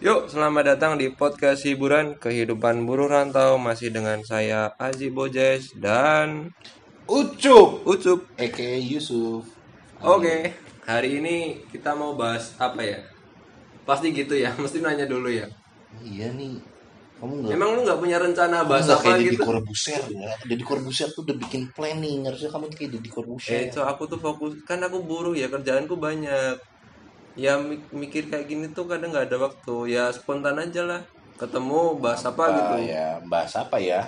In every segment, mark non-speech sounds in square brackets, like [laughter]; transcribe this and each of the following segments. Yuk, selamat datang di podcast hiburan kehidupan buruh rantau masih dengan saya Aziz Bojes dan Ucup Ucup. Eke Yusuf Oke, hari ini kita mau bahas apa ya? Pasti gitu ya, [laughs] mesti nanya dulu ya. Iya nih Kamu gak Emang lu nggak punya rencana bahas apa Iya. kayak Deddy gitu? Corbuzier ya Deddy Corbuzier tuh udah bikin planning Harusnya kamu tuh kayak Deddy Corbuzier Eh, so aku tuh fokus kan aku buruh ya kerjaanku banyak. Ya mi- mikir kayak gini tuh kadang nggak ada waktu. Ya spontan aja lah. Ketemu bahas apa, gitu. Ah, ya bahas apa ya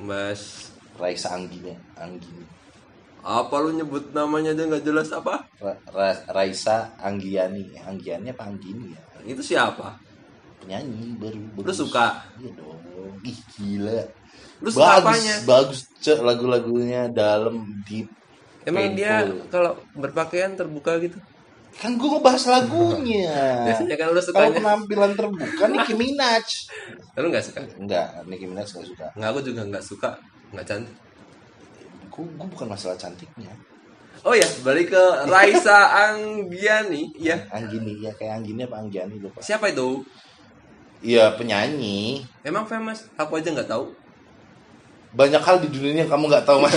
Bahas Raisa Anggini Anggini apa lu nyebut namanya aja nggak jelas apa? Ra- Ra- Raisa Anggiani Anggiani apa Anggini ya Itu siapa? penyanyi baru Lu bagus. suka? iya dong ih gila Lu suka bagus apanya? bagus cek lagu-lagunya dalam deep Emang Painful. dia kalau berpakaian terbuka gitu? kan gue ngebahas lagunya [laughs] Biasanya kan lu kalau sukanya. penampilan terbuka Nicki Minaj Lu nggak suka? Enggak, Nicki Minaj gak suka. Nggak, aku juga nggak suka. Nggak cantik. Gue bukan masalah cantiknya. Oh ya, balik ke Raisa Anggiani. Ya, Anggini, ya kayak Anggini apa Anggiani lupa. siapa itu? Iya, penyanyi. Emang famous? Aku aja nggak tahu. Banyak hal di dunia yang kamu nggak tahu mas.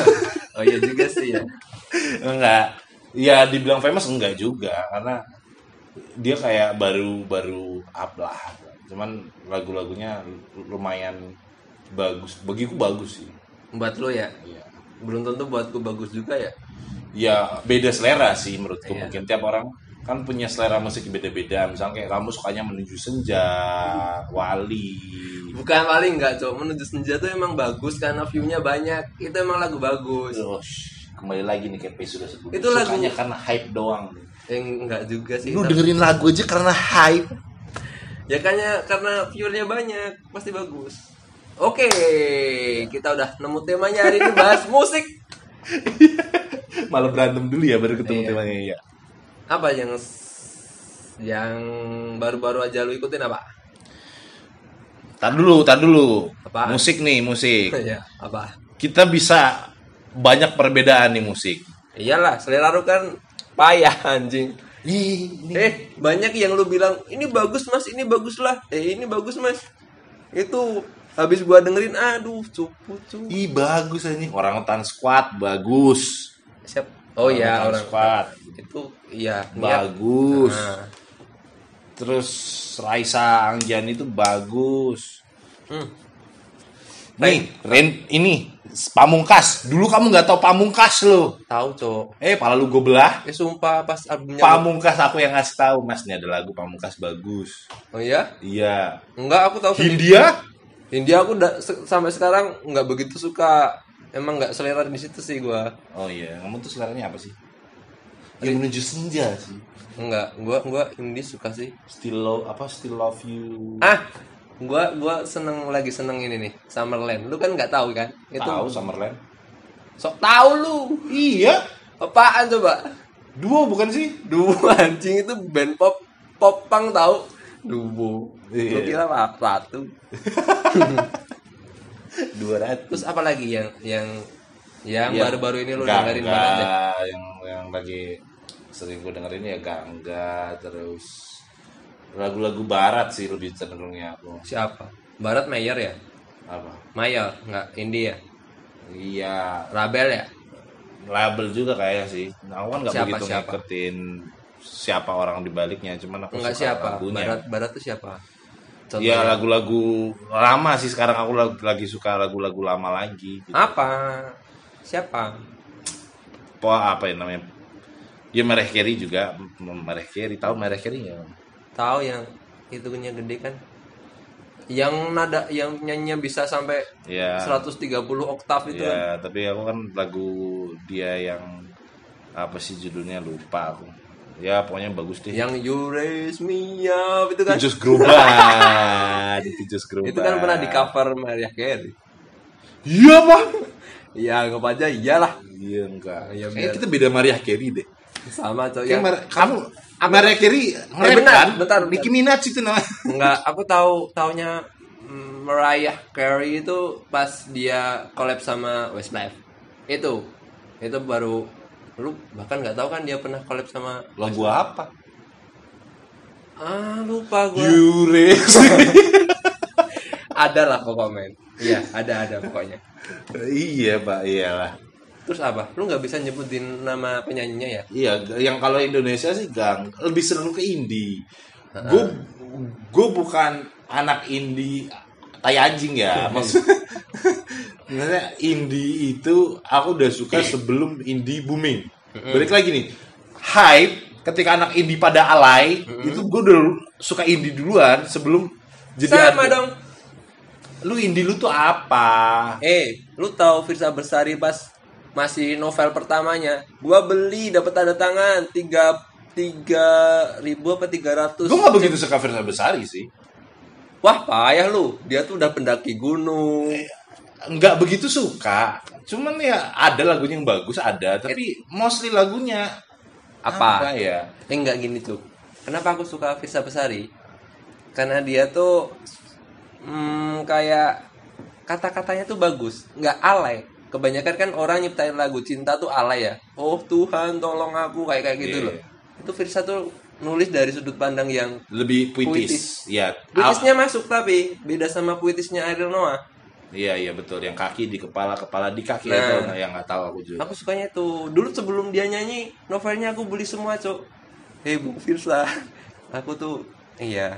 Oh iya juga sih ya. [laughs] enggak. Ya dibilang famous enggak juga karena dia kayak baru-baru up lah. Cuman lagu-lagunya lumayan bagus. Bagiku bagus sih. Buat lo ya, Iya. belum tentu buatku bagus juga ya. ya beda selera sih menurutku Iya. mungkin tiap orang kan punya selera musik beda-beda misalnya kayak kamu sukanya menuju senja wali Bukan paling nggak cok, menuju senja tuh emang bagus karena view-nya banyak. Itu emang lagu bagus. Oh, shh, kembali lagi nih kayak sudah sebut Itu lagunya. sukanya karena hype doang Yang Eh, nggak juga sih. lu tapi- dengerin lagu aja karena hype Ya karena karena viewernya banyak, pasti bagus. Oke, kita udah nemu temanya hari ini [laughs] bahas musik. [laughs] malah berantem dulu ya baru ketemu Iya. temanya ya Apa yang yang baru-baru aja lu ikutin apa? tar dulu tar dulu Apaan? musik nih musik ya, apa? kita bisa banyak perbedaan nih musik Iyalah, selera lu kan payah anjing. Ih, ini Eh, banyak yang lu bilang, ini bagus mas, ini bagus lah, eh ini bagus mas. Itu habis gua dengerin, aduh cupu cupu. ih, bagus ini orang tan squad bagus Siap. Oh ya Orangutan orang squad itu iya niat. bagus Nah. terus Raisa Anggiani itu bagus Hmm. nih Ren ini Pamungkas dulu kamu nggak tahu Pamungkas lo Tahu cok. eh pala lu gue belah Eh sumpah pas Iya. albumnya Pamungkas aku yang ngasih tahu mas ini ada lagu Pamungkas bagus Oh iya? iya Enggak, aku tahu sendiri. Hindia Hindia aku da- se- sampai sekarang nggak begitu suka. Emang nggak selera di situ sih gua. oh iya kamu tuh seleranya apa sih yang menuju senja sih Enggak, gua gua Hindi suka sih. still love apa still love you Ah, gua gua seneng lagi seneng ini nih, Summerland. Lu kan nggak tahu kan? Itu tahu Summerland sok tahu lu. iya Apaan coba? duo bukan sih Duo anjing itu band pop pop punk tahu. Duo. Lu Iya. kira apa? Satu. [laughs] dua ratus Terus apa lagi yang yang yang Iya. baru-baru ini lu Gangga, dengerin banget ya? deh? yang yang lagi sering gue dengerin ya Gangga terus lagu-lagu barat sih lebih cenderungnya aku Siapa? Barat Mayer ya? apa Mayer, nggak India. iya Rabel ya? label juga kayak sih nah, aku kan nggak Siapa, begitu siapa? ngikutin siapa orang di baliknya cuman aku Enggak suka siapa? lagunya Barat Barat tuh siapa? Contoh. Iya lagu-lagu lama sih sekarang aku lagu- lagi suka lagu-lagu lama lagi. Gitu. Apa? Siapa? Apa apa yang namanya? Ya Mereh Carey juga, Mereh Carey tahu Mereh Carey nggak? Tahu yang itunya gede kan? Yang nada yang nyanyinya bisa sampai Ya. Iya. 130 oktav itu kan. Iya, tapi aku kan lagu dia yang apa sih judulnya lupa aku. Ya pokoknya bagus deh. Yang you raise me up itu Iya, kan. Tujus Groban. itu Tujus Groban. Itu kan pernah di cover Mariah Carey. Iya, Pak. Ya anggap aja iyalah. Iya enggak. Iya, Kayaknya biar- kita beda Mariah Carey deh. Sama cowok Kayak yang Mar- kamu Mariah Carey nge-rap benar, kan? Eh, bentar, bentar. Nicki Minaj itu namanya. Enggak, aku tahu taunya mm, Mariah Carey itu pas dia collab sama Westlife. Itu. Itu baru lu bahkan nggak tahu kan dia pernah collab sama Lagu apa? ah lupa gue Iya. Yure. [laughs] ada lah pokoknya iya ada ada pokoknya iya pak, iyalah. terus apa lu nggak bisa nyebutin nama penyanyinya ya Iya, yang kalau Indonesia sih gang lebih seru ke indie. Gue gue bukan anak indie tai anjing ya. Maksud [laughs] sebenarnya indie itu aku udah suka sebelum indie booming. Balik lagi nih. Hype ketika anak indie pada alay, itu gue udah suka indie duluan sebelum jadi sama ada- dong Lu indie lu tuh apa? eh lu tahu Firsa Bersari pas masih novel pertamanya gua beli dapat tanda tangan tiga tiga ribu apa tiga ratus Gue gak begitu suka Firza Besari sih. wah payah lu dia tuh udah pendaki gunung nggak begitu suka cuman ya ada lagunya yang bagus ada tapi mostly lagunya Apa? ya Eh enggak gini tuh. Kenapa aku suka Firsa Besari? Karena dia tuh hmm, kayak kata-katanya tuh bagus, nggak alay. Kebanyakan kan orang nyiptain lagu cinta tuh alay ya. Oh Tuhan tolong aku kayak kayak gitu Iya. loh. Itu Firsa tuh nulis dari sudut pandang yang lebih Puitis. puitis, ya puitisnya masuk tapi beda sama puitisnya Ariel Noah. iya iya betul yang kaki di kepala kepala di kaki Nah. itu yang nggak tahu aku juga Aku sukanya itu. Dulu sebelum dia nyanyi, novelnya aku beli semua, Cok. Hei, Bung Firsa. Aku tuh iya.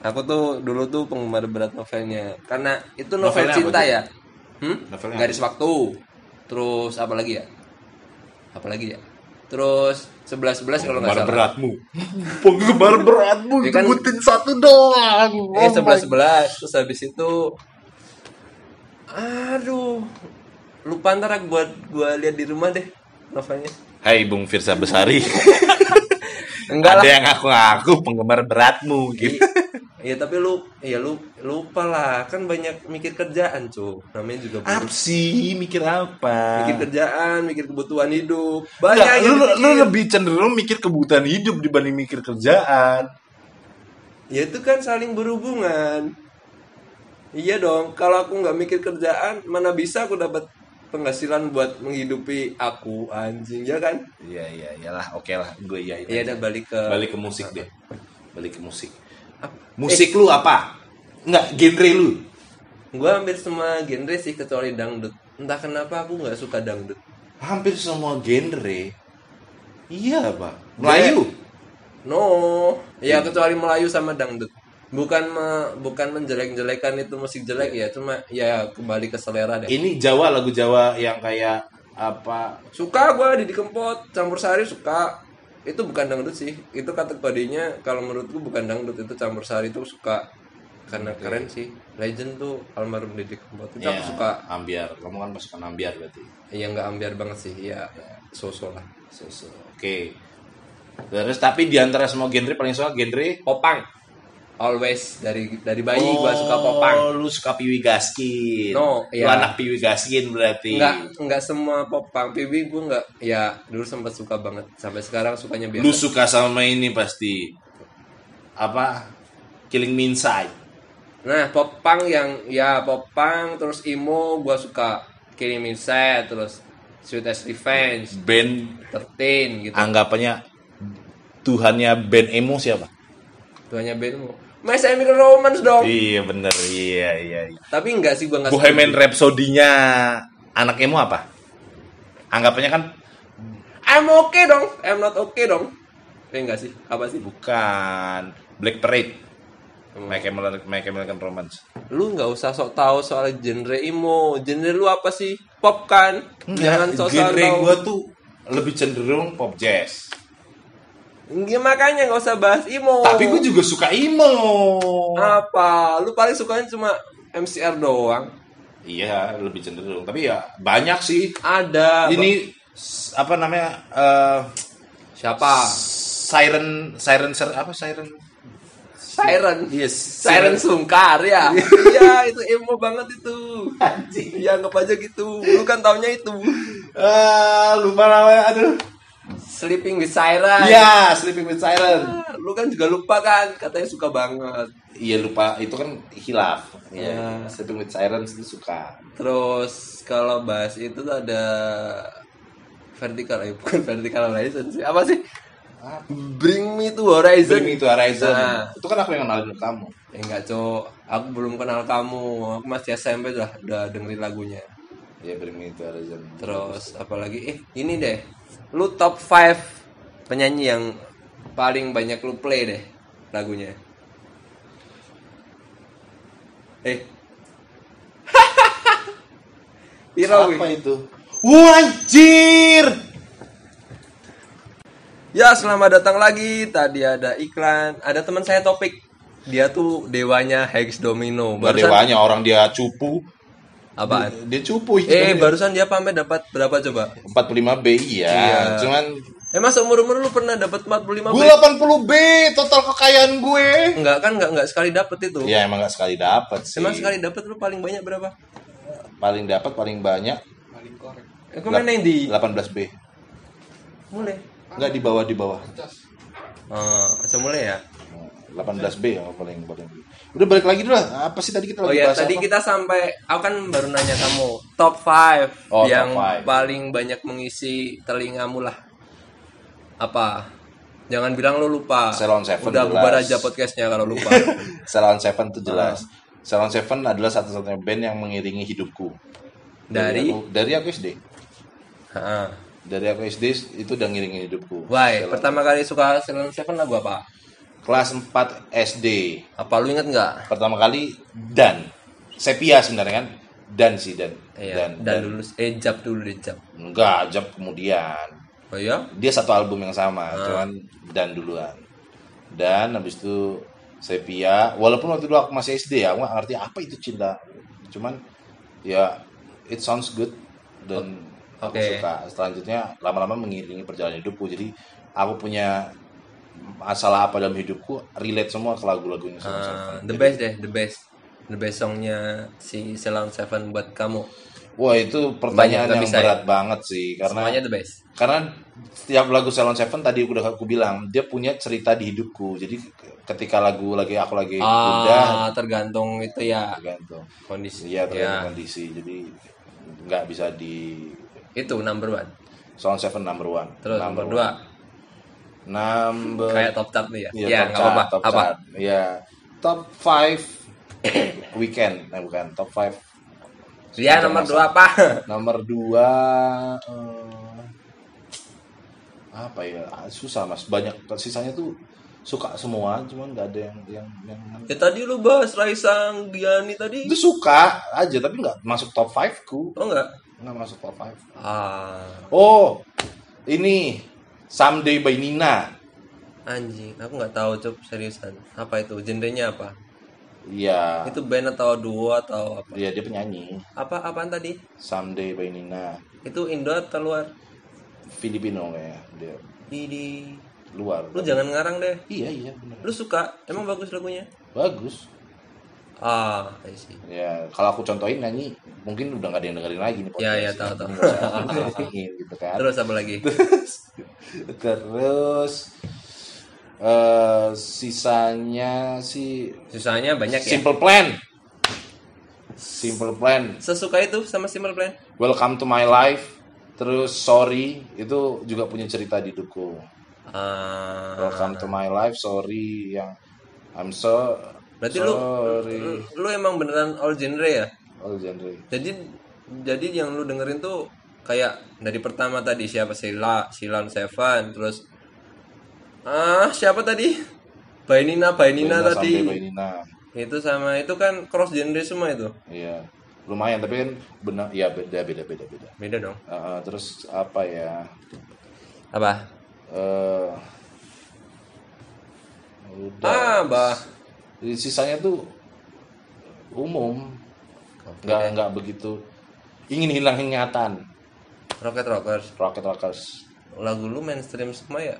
Aku tuh dulu tuh penggemar berat novelnya. Karena itu novel Novelnya apa, cinta Cok? ya. Hmm? Novelnya Garis waktu. Terus apa lagi ya? Apa lagi ya? Terus 11-11 kalau nggak penggemar salah. beratmu [laughs] penggemar beratmu Ya kan- sebutin satu doang Eh, Oh 11-11. Terus habis itu aduh. Lupa ntar aku buat gua lihat di rumah deh novelnya. my- Hai Bung Firsa Besari Enggak ada yang aku ngaku penggemar beratmu gitu Iya tapi lu ya lu lupa lah kan banyak mikir kerjaan cuy namanya juga apa butuh- sih mikir apa mikir kerjaan mikir kebutuhan hidup Nggak, banyak lu, yang gitu. lu dipikir. lebih cenderung mikir kebutuhan hidup dibanding mikir kerjaan. ya itu kan saling berhubungan iya dong kalau aku nggak mikir kerjaan mana bisa aku dapat penghasilan buat menghidupi aku anjing ya kan Iya iya iyalah, oke lah, gue iya ya iya. udah balik ke Balik ke musik deh, balik ke musik. Eh. Musik lu apa? Enggak, genre lu. gue Eh, hampir semua genre sih kecuali dangdut entah kenapa aku nggak suka dangdut Hampir semua genre. Iya pak. Melayu. No, ya kecuali Melayu sama dangdut. Bukan me- bukan menjelek-jelekan itu musik jelek ya, cuma ya kembali ke selera deh. Ini Jawa lagu Jawa yang kayak apa? Suka gua Didi Kempot, Campur Sari suka. Itu bukan dangdut sih. Itu kategorinya kalau menurutku bukan dangdut, itu Campur Sari itu suka. Karena keren sih. Legend tuh almarhum Didi Kempot. Itu aku Ya, suka. Ambiar. Kamu kan pasukan ambiar berarti. Ya nggak ambiar banget sih, ya sosok lah. So, so, Oke. Terus tapi di antara semua genre paling suka genre Popang. Always dari dari bayi gua suka popang. Oh, lu suka Piwi Gaskin. No, Lu iya. anak Piwi Gaskin berarti. Enggak, enggak semua pop punk PB gue enggak ya dulu sempat suka banget sampai sekarang sukanya Lu biasa. suka sama ini pasti. Apa? Killing Me Inside. Nah, pop punk yang ya pop punk terus emo gue suka Killing Me Inside terus Sweet as Revenge, Band 13 gitu. anggapannya Tuhannya band emo siapa? Tuanya bandmu. My Chemical Romance dong. Iya bener, iya iya. iya. Tapi enggak sih gue enggak Bohemian Rhapsody-nya anak emo apa? Anggapannya kan I'm okay dong. I'm not okay dong. Eh enggak sih. Apa sih? bukan Black Parade. My Chemical, My Chemical Romance. Lu nggak usah sok tahu soal genre emo. Genre lu apa sih? Pop kan? Jangan sok Enggak, tahu. genre gue tuh lebih cenderung pop jazz. Nggak, Ya, makanya nggak usah bahas emo. Tapi gue juga suka emo. apa? Lu paling sukanya cuma MCR doang. Iya, lebih cenderung. Tapi ya banyak sih. Ada. Ini s- apa namanya? eh, Bang. siapa? Ah. siren siren ser- apa siren? Siren. Yes, Siren Sungkar ya. [laughs] iya, itu emo banget itu. Anjing. Ya anggap aja gitu. Lu kan taunya itu. Ah, lupa namanya. Aduh. Sleeping with Siren. Iya, Sleeping with Siren. Ah, Lu kan juga lupa kan, katanya suka banget. Iya lupa, itu kan hilaf. Iya, Ah. Sleeping with Siren itu suka. Terus kalau bahas itu tuh ada vertikal eh bukan vertikal horizon sih. Apa sih? apa? Bring Me to Horizon. Bring Me to Horizon. Nah. Itu kan aku yang kenalin ke kamu. Eh, enggak, Cok. Aku belum kenal kamu. Aku masih SMP udah udah dengerin lagunya. Iya, Bring Me to Horizon. Terus apalagi eh ini deh. Lu top 5 penyanyi yang paling banyak lu play deh lagunya. Eh. [laughs] apa Irawi. itu? Wajir. Ya, selamat datang lagi. Tadi ada iklan. Ada teman saya Topik. Dia tuh dewanya Hex Domino. Gak Barusan dewanya orang dia cupu. apaan? Dia cupu Eh, barusan dia pamit dapat berapa coba? 45 B iya. Iya. Cuman Emang seumur umur lu pernah dapat 45 gue Bang? 80 B total kekayaan gue. Enggak kan enggak enggak sekali dapat itu. Ya emang gak sekali dapat sih. Emang sekali dapat lu paling banyak berapa? Paling dapat paling banyak Eh, Kau main yang di 18 B. mulai. Enggak di bawah di bawah. Oh, aja mulai ya. 18 B yang paling paling. Udah balik lagi dulu lah. Apa sih tadi kita Oh lagi ya, bahas tadi apa? kita sampai aku kan baru nanya kamu top 5 Oh, top yang five. paling banyak mengisi telingamu lah. Apa? Jangan bilang lu lupa. Salon Seven Udah jelas. bubar aja podcastnya kalau [laughs] lupa. Salon Seven tuh jelas. Ah. Salon Seven adalah satu-satunya band yang mengiringi hidupku. Dari aku, dari aku SD. Heeh. Dari aku SD itu udah ngiringin hidupku. Why? Salon- Pertama kali suka Salon Seven lagu apa? Kelas 4 SD. Apa lu inget nggak? Pertama kali dan sepia sebenarnya kan dan sih dan Iya, dan, dan, dulu eh jab dulu deh jab. enggak jam kemudian Oh iya? dia satu album yang Ah. sama cuman dan duluan dan habis itu sepia walaupun waktu dulu aku masih SD ya aku nggak ngerti apa itu cinta cuman ya it sounds good dan aku Oke. suka selanjutnya lama-lama mengiringi perjalanan hidupku jadi aku punya masalah apa dalam hidupku relate semua ke lagu-lagu yang sama Ah, the best deh, the best. The best songnya si Selon Seven buat kamu. Wah itu pertanyaan Banyak, yang tapi saya- berat banget sih karena Semuanya the best. karena setiap lagu Salon Seven tadi udah aku bilang dia punya cerita di hidupku jadi ketika lagu lagi aku lagi Ah, udah tergantung itu ya tergantung kondisi. iya tergantung Ya, kondisi jadi nggak bisa di itu number one. Salon Seven number one Terus number, number, dua one. number kayak top chart nih ya. Iya, Iya, top nggak apa-apa. chart, top Apa? chart. Iya, top five [coughs] weekend nah, bukan top five Iya, nomor dua apa? [laughs] Nomor dua eh, apa ya ah, susah mas banyak sisanya tuh suka semua cuman nggak ada yang yang yang ya tadi lu bahas Raisang Diani tadi. itu suka aja tapi nggak masuk top five ku Oh enggak? nggak masuk top five Ah, oh ini someday by Nina anjing, aku nggak tahu Cuk, seriusan. Apa itu? Genrenya apa? iya Itu band atau duo atau apa? dia dia penyanyi Apa apaan tadi? someday by Nina Itu Indo atau luar? Filipino ya dia Di di luar lu jangan ngarang deh. iya iya bener Lu suka? Emang bagus lagunya? bagus Ah, I see. ya kalau aku contohin nyanyi mungkin udah nggak ada yang dengerin lagi nih Ya, podcast. ya, tahu, tahu. Nggak usah aku nyanyiin gitu kan Terus apa [laughs] lagi? terus eh sisanya si Susahnya banyak ya. simple plan simple plan Sesuka itu sama Simple Plan. welcome to my life terus sorry itu juga punya cerita di hidupku Ah, welcome to my life sorry yang I'm so Berarti lu- sorry Oh, lu, lu emang beneran all genre ya? all genre Jadi jadi yang lu dengerin tuh kayak dari pertama tadi siapa Sila, Silan Seven, terus ah siapa tadi? Bainina, Bainina Bainina tadi. sampai Bainina. Itu sama itu kan cross genre semua itu. Iya, lumayan tapi kan benar ya beda beda beda beda. Beda dong. Uh, terus apa ya? Apa? eh udah. Ah, bah. Sisanya tuh umum, nggak nggak begitu. Ingin hilang ingatan. Rocket Rockers. Rocket Rockers. Lagu lu mainstream semua ya?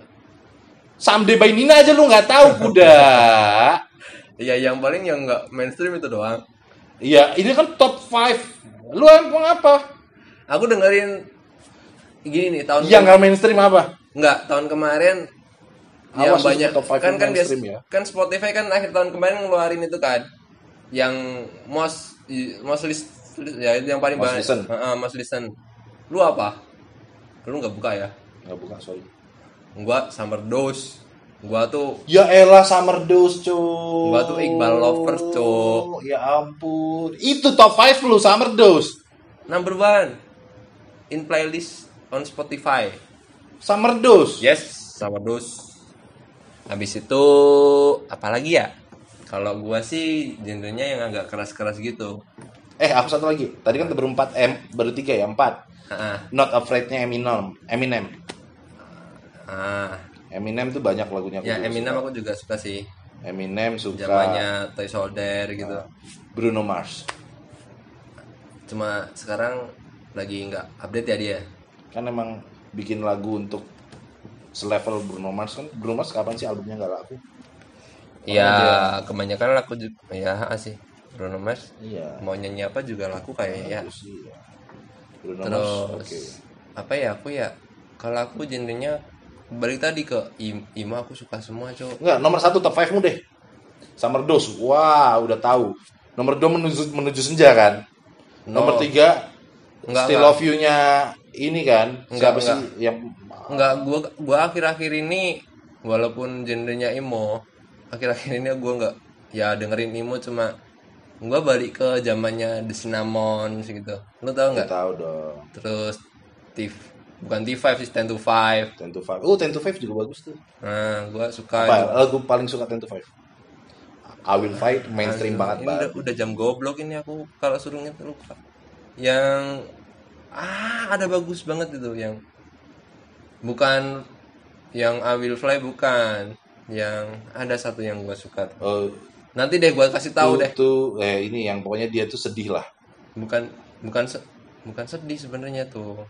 Someday by Nina aja lu nggak tahu kuda. Iya, yang paling yang nggak mainstream itu doang. Iya, ini kan top 5 Lu emang apa? Aku dengerin gini nih tahun Yang Iya, nggak mainstream apa? nggak tahun kemarin yang Awas lu banyak top five kan yang kan bias- mainstream ya. kan Spotify kan akhir tahun kemarin ngeluarin itu kan yang most most list ya itu yang paling Most banyak listen. Heeh, most listen. Lu apa? Lu nggak buka ya? Nggak buka, sorry. gua summer dose gua tuh Ya elah Summer Dose, cuy. Gua tuh Iqbal lovers, cuy. Ya ampun. Itu top 5 lu Summer Dose. number one in playlist on Spotify Summer Dose. yes summer dose habis itu apalagi ya kalau gua sih genrenya yang agak keras-keras gitu Eh, aku satu lagi. Tadi kan berempat M, baru tiga ya, empat. ah Not Afraid-nya Eminem. Eminem. ah Eminem tuh banyak lagunya. aku ya juga Eminem suka. aku juga suka sih Eminem suka. zamannya Toy Soldier gitu Bruno Mars. cuma sekarang lagi nggak update ya dia Kan emang bikin lagu untuk selevel Bruno Mars kan. Bruno Mars kapan sih albumnya nggak laku? ya kebanyakan laku juga ya ah, sih Bruno Mars Iya. mau nyanyi apa juga laku kayaknya ya Bagus sih, ya. Bruno Mars. terus Oke. apa ya aku ya kalau aku genrenya balik tadi ke im- Ima aku suka semua cok Enggak, nomor satu top 5 mu deh. Summer Dose. Wah, udah tahu. Nomor 2 menuju menuju senja kan. No. Nomor 3 Oh. Enggak, Still enggak. Love You-nya ini kan. Enggak, Siapa sih yang nggak gua gua akhir-akhir ini walaupun genrenya emo akhir-akhir ini gua nggak ya dengerin emo cuma gua balik ke zamannya The Cinnamon gitu lu tau enggak nggak tahu dong. terus T bukan T5 sih Ten to Five 10 to 5. Oh, 10 to 5 juga bagus tuh. nah gua suka Apa? Lagu paling suka 10 to 5. I Will Fight mainstream ini banget, Pak. udah, udah jam goblok ini aku kalau suruh inget lupa yang ah ada bagus banget itu yang bukan yang I Will Fly bukan yang ada satu yang gua suka tuh. Eh, nanti deh gua kasih tahu deh Tuh, eh ini yang pokoknya dia tuh sedih lah. bukan bukan se- bukan sedih sebenarnya tuh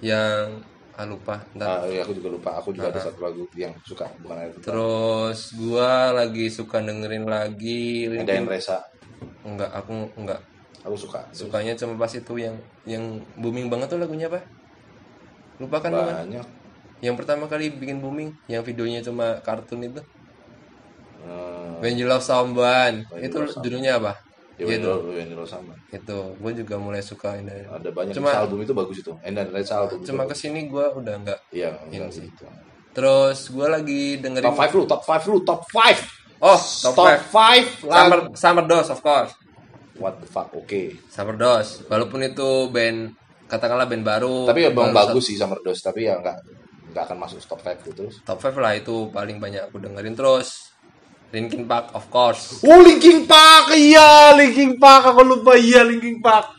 yang ah lupa ntar. Ah, iya, aku juga lupa. Aku juga ada satu lagu yang suka bukan ada itu. terus gua lagi suka dengerin lagi Ada yang Resa. enggak aku enggak Aku suka. sukanya cuma pas itu yang yang booming banget tuh lagunya apa lupa kan lu kan? Banyak. yang pertama kali bikin booming yang videonya cuma kartun itu Eh, When You Love Someone When You itu Love Someone. judulnya apa Ya Wendro, Wendro sama. itu gue juga mulai suka ini Ada banyak Cuma- Bisa album itu bagus itu. Endan Reza album. itu cuma bagus. kesini gue udah enggak Iya, Ini bagus sih. itu. terus gue lagi dengerin Top 5 lu, top 5 lu, top 5. oh top, Top five. 5 Summer lagu. Summer Dose of course What the fuck, oke. Summer Dose walaupun itu band katakanlah band baru Tapi ya bang baru bagus sih Summer Dose, tapi ya nggak nggak akan masuk top 5 lu terus. top 5 lah itu paling banyak aku dengerin terus Linkin Park of course Oh, Linkin Park, iya Linkin Park, aku lupa iya Linkin Park.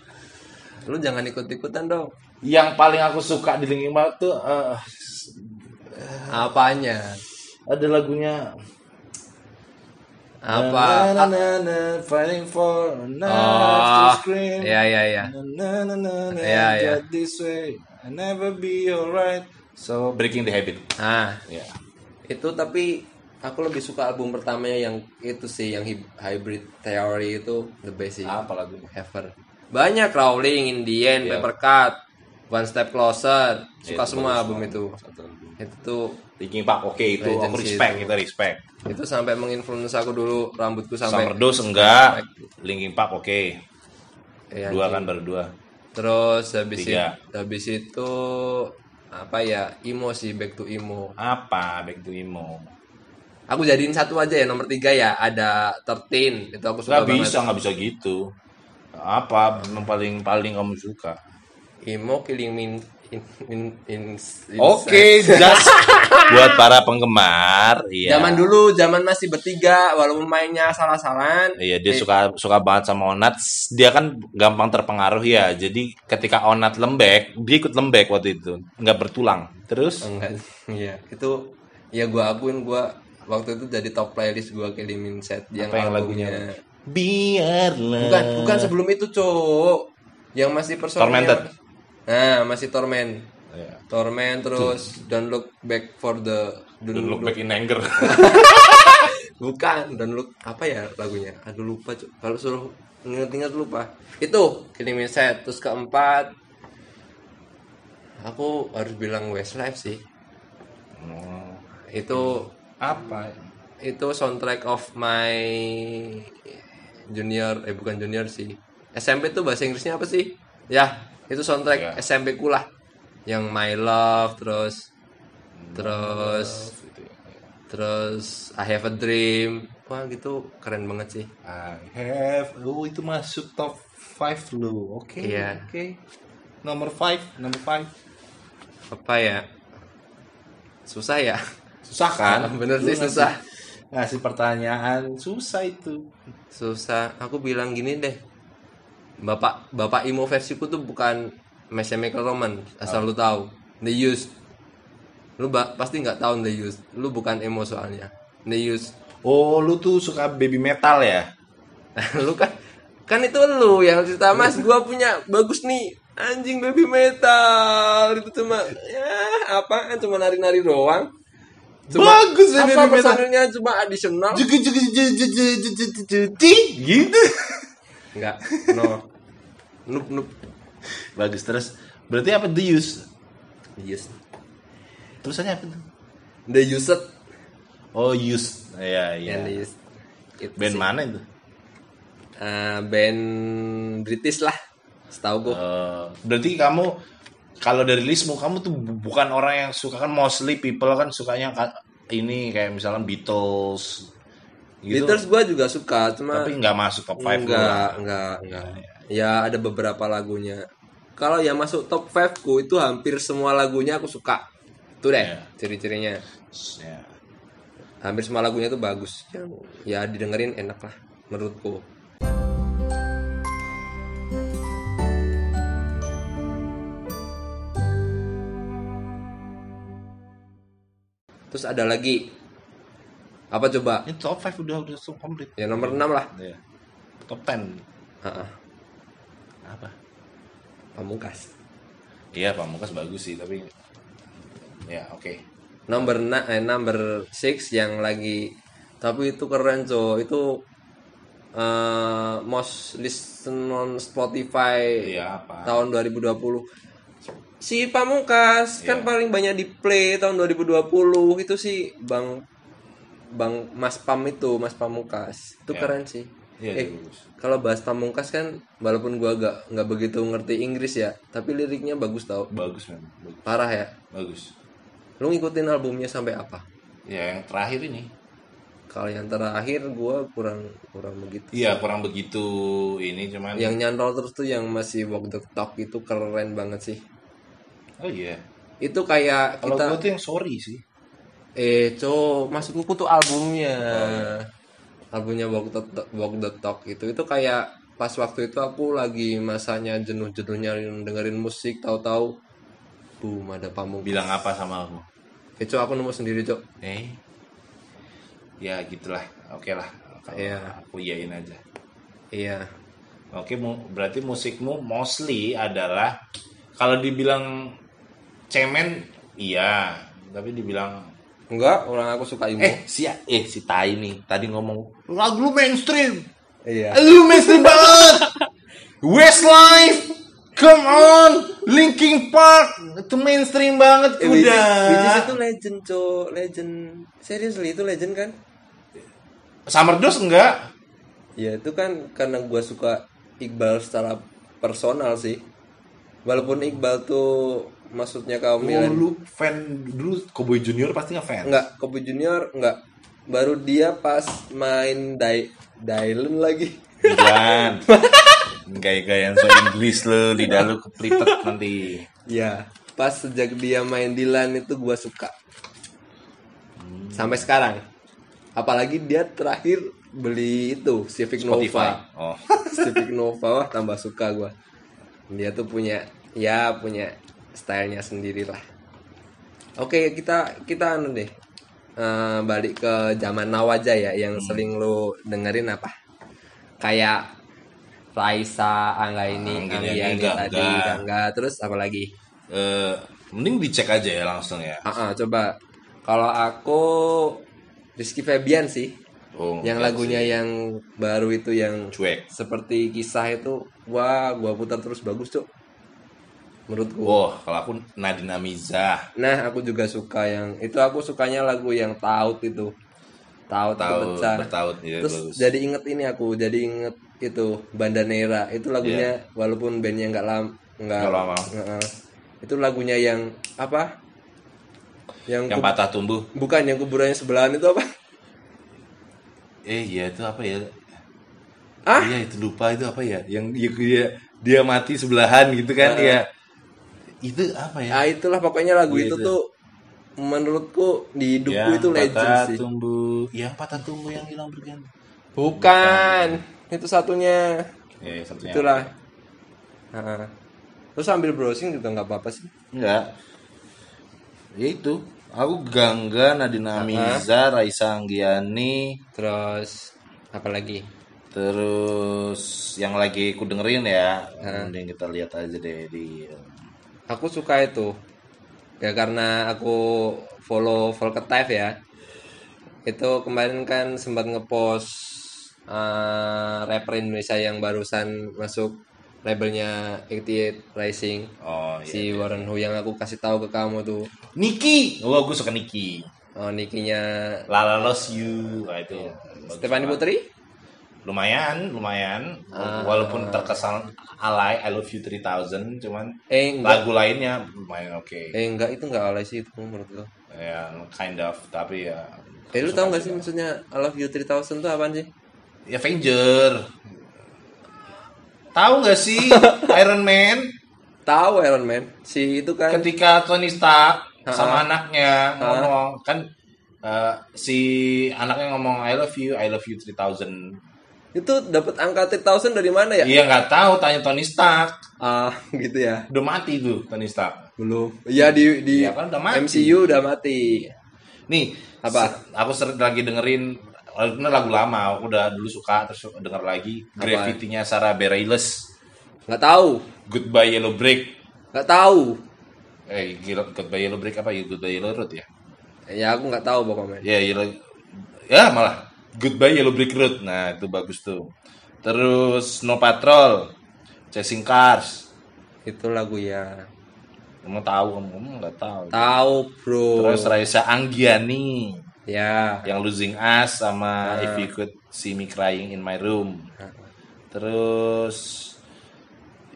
lu jangan ikut-ikutan dong Yang paling aku suka di Linkin Park tuh eh, apanya ada lagunya apa Na, na, na, na, Fighting for a knife oh to scream. ya ya ya Na, na, na, na, Ya, ya. get this way, I never be alright. So breaking the habit. ah Ya. itu tapi aku lebih suka album pertamanya yang itu sih yang hib- hybrid theory itu the best sih Apa lagunya? ever banyak Rowling in the end Iya. paper cut one step closer suka Ya, itu semua bagus album banget. itu Satu lagu. itu tuh Linkin Park, oke itu aku Legend sih respect, kita respect. itu sampai menginfluence aku dulu rambutku sampai Summer Dose enggak, Linkin Park oke. Iya, Dua kan baru dua. terus habis itu, Tiga. habis itu apa ya emo sih back to emo Apa Back to Emo? Aku jadiin satu aja ya nomor tiga ya ada 13 itu aku suka Gak banget. bisa, nggak bisa gitu. Apa yang paling paling kamu suka? Emo killing min in, in, in- in- Oke, just buat para penggemar, iya. Zaman dulu zaman masih bertiga walaupun mainnya salah-salahan. Eh, Iya dia suka suka banget sama Onat. Dia kan gampang terpengaruh ya. Jadi ketika Onat lembek, dia ikut lembek waktu itu, nggak bertulang. Terus Enggak. [laughs] Iya, itu ya gua akuin gua waktu itu jadi top playlist gua killing min set yang, apa yang albumnya. lagunya? Eh. Biarlah. Bukan, bukan sebelum itu, Cuk. Yang masih personalnya- Tormented. Nah, masih Torment. Iya. Torment terus Don't Look Back for the Don't look back in anger. [laughs] Bukan, dan lu apa ya lagunya? Aduh lupa, Cuk. kalau suruh inget-inget lupa. Itu kirimin set terus keempat aku harus bilang Westlife sih. Hmm, Itu apa? itu soundtrack of my junior eh bukan junior sih. SMP tuh bahasa Inggrisnya apa sih? Ya, itu soundtrack Ya. SMP ku lah. Yang My Love terus terus gitu ya. terus I Have a Dream wah gitu keren banget sih I have oh itu masuk top 5 lo oke Iya. oke nomor 5 nomor 5 apa ya susah ya susah kan [laughs] bener Lu sih ngasih- susah ngasih pertanyaan susah itu susah aku bilang gini deh bapak bapak imo versiku tuh bukan My Chemical Romance Ah. asal lu tahu The Used lu ba- pasti nggak tahu The Used lu bukan emo soalnya The Used [laughs] oh lu tuh suka baby metal ya lu kan kan itu lu yang cerita mas gua punya bagus nih anjing baby metal itu cuma ya apaan cuma nari-nari doang Bagus ya apa baby metal. personilnya cuma additional juga juga juga juga juga juga gitu enggak no nup nup bagus terus berarti apa the use yes terusannya apa tuh the used oh use ya yang the ya used Itu band sih. mana itu Eh, band British lah setahu gua Eh, berarti kamu kalau dari listmu kamu tuh bu- bukan orang yang suka kan mostly people kan sukanya ka- ini kayak misalnya Beatles gitu Beatles gua juga suka cuma tapi nggak masuk top 5 enggak, enggak, Iya, enggak. Ya ada beberapa lagunya. Kalau yang masuk top 5 ku itu hampir semua lagunya aku suka. Itu deh Iya. ciri-cirinya. Hampir semua lagunya tuh bagus. Yang ya didengerin enak lah menurutku. Terus ada lagi apa coba? ini top 5 udah udah so komplit Ya nomor 6 lah. ya. top 10 Ha-ha, apa Pamungkas. iya Pamungkas bagus sih tapi ya oke number na eh, number six yang lagi tapi itu keren coy itu eh most listen on Spotify iya apa tahun 2020 si Pamungkas kan Iya. paling banyak di play tahun 2020 itu sih Bang Bang Mas Pam itu Mas Pamungkas itu Iya. keren sih iya eh, itu bagus kalau bahas Pamungkas kan walaupun gua agak nggak begitu ngerti Inggris ya tapi liriknya bagus tau bagus memang bagus, parah ya bagus. lu ngikutin albumnya sampai apa ya yang terakhir ini Kalau yang terakhir gua kurang kurang begitu. iya kurang begitu ini cuman Yang nyantol terus tuh yang masih walk the talk itu keren banget sih. oh iya Itu kayak kalau kita gue tuh yang sorry sih eh co maksudku tuh albumnya. Albumnya walk the Talk- walk the talk itu itu kayak pas waktu itu aku lagi masanya jenuh-jenuhnya dengerin musik tahu-tahu boom ada pamungkas. bilang apa sama aku Eh co aku nemu sendiri co. eh ya gitulah oke lah Kalau Iya. aku iyain aja Iya. oke mu- berarti musikmu mostly adalah kalau dibilang cemen iya tapi dibilang Enggak, orang aku suka emo. eh si eh si tai nih tadi ngomong lagu lu mainstream Iya. lu mainstream banget Westlife come on Linkin Park itu mainstream banget Eh, Bee udah Gees- Bee Gees itu legend, cok. Legend. Seriously, itu legend kan? Summer Dose enggak Ya, itu kan karena gua suka Iqbal secara personal sih. Walaupun Iqbal tuh maksudnya kaum Dulu milen. lu fan dulu Cowboy Junior pasti ngefans. Enggak, Kobe Junior enggak. Baru dia pas main Dai Dylan lagi. [laughs] Bukan. Gaya-gayaan so Inggris lu, lidah lu keplitet nanti. Ya, pas sejak dia main Dylan itu gua suka. Sampai sekarang. Apalagi dia terakhir beli itu Civic Nova. Spotify. Oh. Civic Nova wah tambah suka gua dia tuh punya ya punya stylenya sendiri lah oke kita kita anu deh eh, balik ke zaman now aja ya yang Hmm. sering lo dengerin apa kayak Raisa Angga ini Ah, Angga Angga ini, ini Angga, tadi Angga. Angga terus apa lagi Eh, mending dicek aja ya langsung ya. Ah, ah, coba kalau aku Rizky Febian sih Oh, yang lagunya yang baru itu yang cuek. seperti kisah itu wah gua putar terus bagus cok menurut gua Wah, kalau aku Nadina Miza. nah aku juga suka yang itu aku sukanya lagu yang taut itu taut, itu Tahu pecah bertaut ya terus bagus. jadi inget ini aku jadi inget itu Bandanera itu lagunya walaupun bandnya nggak lam nggak Nggak lama. Nggak, eh. itu lagunya yang apa Yang, yang ku- patah tumbuh bukan yang kuburannya sebelahan itu apa? eh iya itu apa ya Ah? iya itu lupa itu apa ya yang dia dia, dia mati sebelahan gitu kan Ah. ya itu apa ya Ah itulah pokoknya lagu Iya, itu, itu. Iya, tuh menurutku di hidupku yang itu legend patah sih. Ya, tumbuh yang patah tumbuh yang hilang berganti Bukan. Itu satunya. ya, ya, satunya Itulah. Ah. Terus sambil browsing juga nggak apa-apa sih. Enggak. Ya itu. Aku Gangga, Nadina Amiza, Raisa Anggiani, Terus apalagi? terus yang lagi ku dengerin ya. Mending kita lihat aja deh di eh, Aku suka itu. Ya karena aku follow Volketife ya. Itu kemarin kan sempat ngepost eh, rapper Indonesia yang barusan masuk labelnya 88 Rising. Oh iya. Si Warren Hu yang aku kasih tahu ke kamu tuh. Niki. Oh, aku suka Niki. Oh, nikinya Lala Loves You. Nah, itu. bagus Stefani banget. Putri? Lumayan, lumayan. Walaupun terkesan alay I Love You 3000, cuman Eh enggak. lagu lainnya lumayan oke. Eh enggak itu enggak alay sih itu menurut gua. Ya, kind of, tapi ya Eh lu tau gak sih maksudnya I love you 3000 tuh apaan sih? ya Avenger. Tahu nggak sih Iron Man Tahu Iron Man. Si itu kan ketika Tony Stark sama anaknya ngomong kan eh, si anaknya ngomong I love you, I love you 3000. itu dapat angka 3000 dari mana ya? Iya nggak tahu tanya Tony Stark. Ah, [laughs] gitu ya. Udah mati tuh Tony Stark. Belum. Ya di di Iya, kan udah mati. MCU udah mati. Nih, Apa? se- aku sering lagi dengerin ini lagu lama, aku udah dulu suka terus denger lagi Gravity-nya Sarah Bareilles, Enggak tahu. Goodbye Yellow Brick. Enggak tahu. Eh, gila, Goodbye Yellow Brick apa? Goodbye Yellow Road ya? Ya aku nggak tahu pokoknya. Ya, Yellow- ya malah Goodbye Yellow Brick Road. Nah, itu bagus tuh. Terus Snow Patrol, Chasing Cars. Itu lagu ya. Kamu tahu kamu kamu nggak tahu. Tahu, Bro. Terus Raisa Anggiani Ya. yang Losing Us sama If You Could See Me Crying in My Room. Terus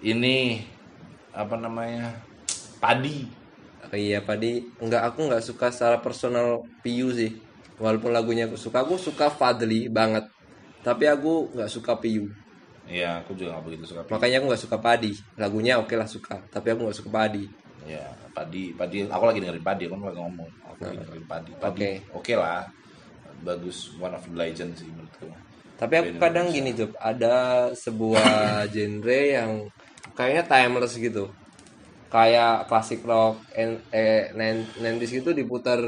ini apa namanya? Padi. Oh iya Padi, enggak aku nggak suka secara personal Piu sih. Walaupun lagunya aku suka, aku suka Fadli banget. Tapi aku nggak suka Piu. Ya, aku juga nggak begitu suka. Makanya aku nggak suka Padi. Lagunya oke lah suka, tapi aku nggak suka Padi. Ya, padi, padi. Aku lagi dengerin padi, kan lagi ngomong. Aku lagi dengerin padi, padi. Oke. Oke lah, bagus. One of the legend sih menurutku. Tapi Iya, aku kadang gini Job, ada [laughs] sebuah genre yang kayaknya timeless gitu. Kayak klasik rock and eh, 90s gitu diputar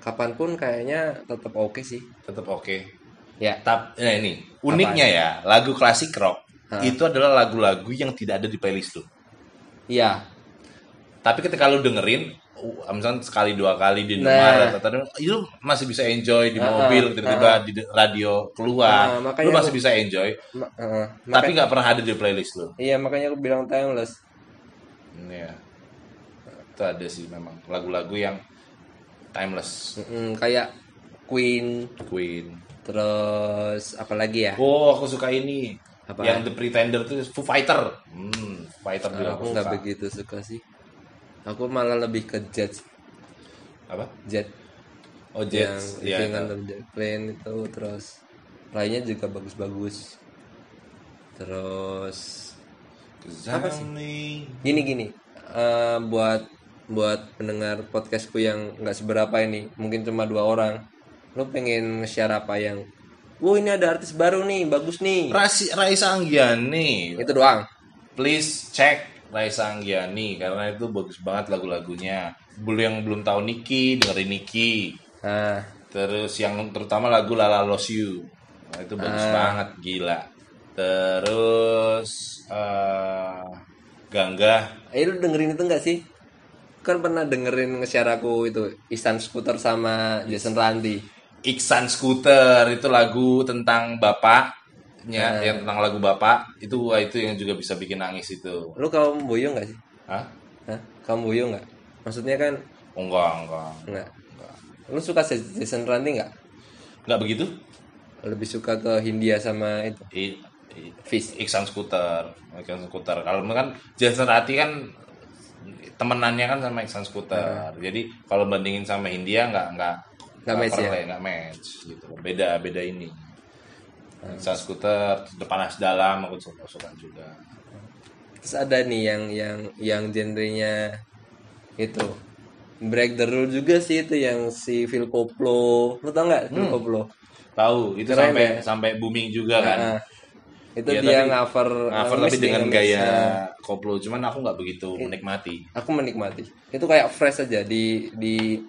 kapanpun kayaknya tetap oke sih. Tetap oke. Ya, Tap, nah ini uniknya ya, lagu klasik rock itu adalah lagu-lagu yang tidak ada di playlist lu. iya. Tapi ketika lu dengerin, uh, misalnya sekali dua kali di Nah. rumah, atau itu masih bisa enjoy di mobil, tiba-tiba di de- radio keluar, Nah, makanya lu masih bisa enjoy. Ma- eh, Tapi nggak pernah ada di playlist lu. Iya makanya aku bilang timeless. Iya. Itu ada sih memang lagu-lagu yang timeless. Mm, kayak Queen, Queen. terus apalagi ya? Oh, aku suka ini. Apa? Yang The Pretender tuh Foo Fighter. Hmm, Foo Fighter juga aku Aku suka. nggak begitu suka sih. Aku malah lebih ke Jet, Apa? Jet Oh, yang Jets. itu Iya. yang under the plane itu terus lainnya juga bagus-bagus. Terus Apa sih? gini gini eh, buat buat pendengar podcastku yang nggak seberapa ini mungkin cuma dua orang lu pengen nge-share apa yang Wow ini ada artis baru nih bagus nih Rasi, Raisa Anggiani. itu doang Please check Raisa Anggiani karena itu bagus banget lagu-lagunya. Belum yang belum tahu Niki, dengerin Niki. Nah, Terus yang terutama lagu Lala Loves You. Nah, itu bagus banget, gila. Terus eh Gangga. eh lu dengerin itu enggak sih? Kan pernah dengerin nge-share aku itu Isan Scooter sama Jason Randy. Iksan Scooter itu lagu tentang bapaknya, yang tentang lagu bapak itu wah, itu yang juga bisa bikin nangis itu. Lu kamu boyo enggak sih? Hah? Hah? Kamu boyo enggak? Maksudnya kan Oh, enggak, enggak. enggak. Lu suka se- Jason Randy enggak? Enggak begitu? Lebih suka ke Hindia sama itu. I- I- Fish. Iksan Scooter, Iksan Scooter. Kalau kan Jason Rati kan temenannya kan sama Iksan Skuter. Jadi kalau bandingin sama India nggak nggak Hmm. Nggak match ya? perle, nggak match gitu. Beda beda ini. Iksan Skuter depan as dalam aku suka suka juga. Terus ada nih yang yang yang genrenya itu break the rule juga sih itu yang si Phil Koplo. Lu tau nggak Hmm. Phil Koplo? Tahu itu Keren sampai ya? sampai booming juga kan. Ah, itu Ya, dia uh, tapi- cover Cover tapi ya, dengan gaya koplo, cuman aku nggak begitu menikmati. aku menikmati itu kayak fresh aja di di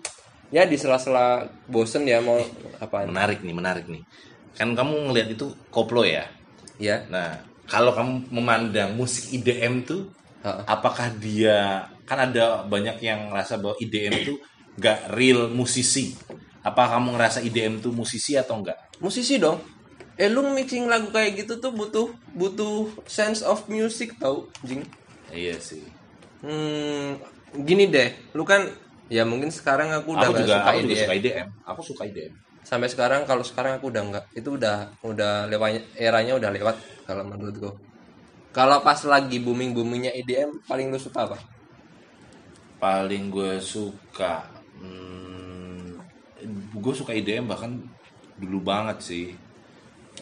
ya di sela-sela bosen ya mau apaan Menarik nih, menarik nih. Kan kamu ngelihat itu koplo ya. ya Nah, kalau kamu memandang musik IDM tuh, Ha. apakah dia kan ada banyak yang ngerasa bahwa IDM itu nggak real musisi? Apa kamu ngerasa IDM tuh musisi atau enggak? musisi dong eh lu mixing lagu kayak gitu tuh butuh butuh sense of music tau jing Iya sih. hmm, gini deh lu kan ya mungkin sekarang aku udah Aku nggak juga, suka aku juga IDM. suka IDM. Aku suka IDM. sampai sekarang kalau sekarang aku udah nggak itu udah udah lewat eranya udah lewat kalau menurutku kalau pas lagi booming boomingnya IDM paling lu suka apa Paling gue suka, hmm, gue suka IDM bahkan dulu banget sih.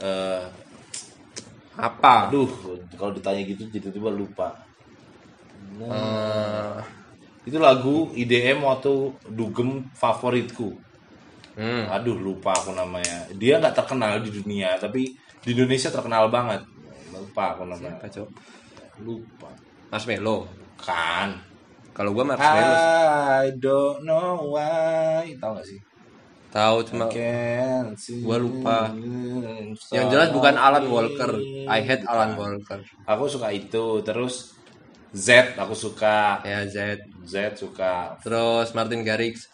Eh, apa aduh, kalau ditanya gitu tiba-tiba lupa. Eh, Itu lagu IDM waktu dugem favoritku. hmm. Aduh lupa aku namanya. Dia nggak terkenal di dunia, tapi di Indonesia terkenal banget. Lupa aku namanya. Apa, Cok? Lupa. Marshmallow. Kan. Kalau gua marshmallow. I don't know why. Tahu nggak sih? Tahu cuma Can't see. Oh. Gua lupa. yang jelas bukan Oh, Alan Walker. I hate Alan Walker. Aku suka itu. Terus Z aku suka. Ya Z. Z suka. Terus Martin Garrix.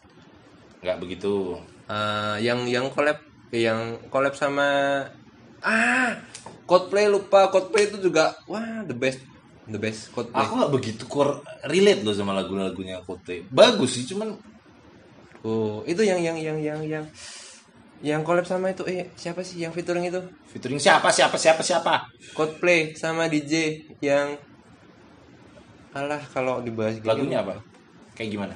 Nggak begitu. Eh, yang yang collab yang collab sama ah Coldplay lupa Coldplay itu juga wah the best the best Coldplay. Aku nggak begitu core relate loh sama lagu-lagunya Kote. Bagus sih, cuman Oh, itu yang yang yang yang yang yang collab sama itu eh siapa sih yang featuring itu? featuring siapa siapa siapa siapa? Coldplay sama DJ yang alah kalau dibahas gini Lagunya apa? Kayak gimana?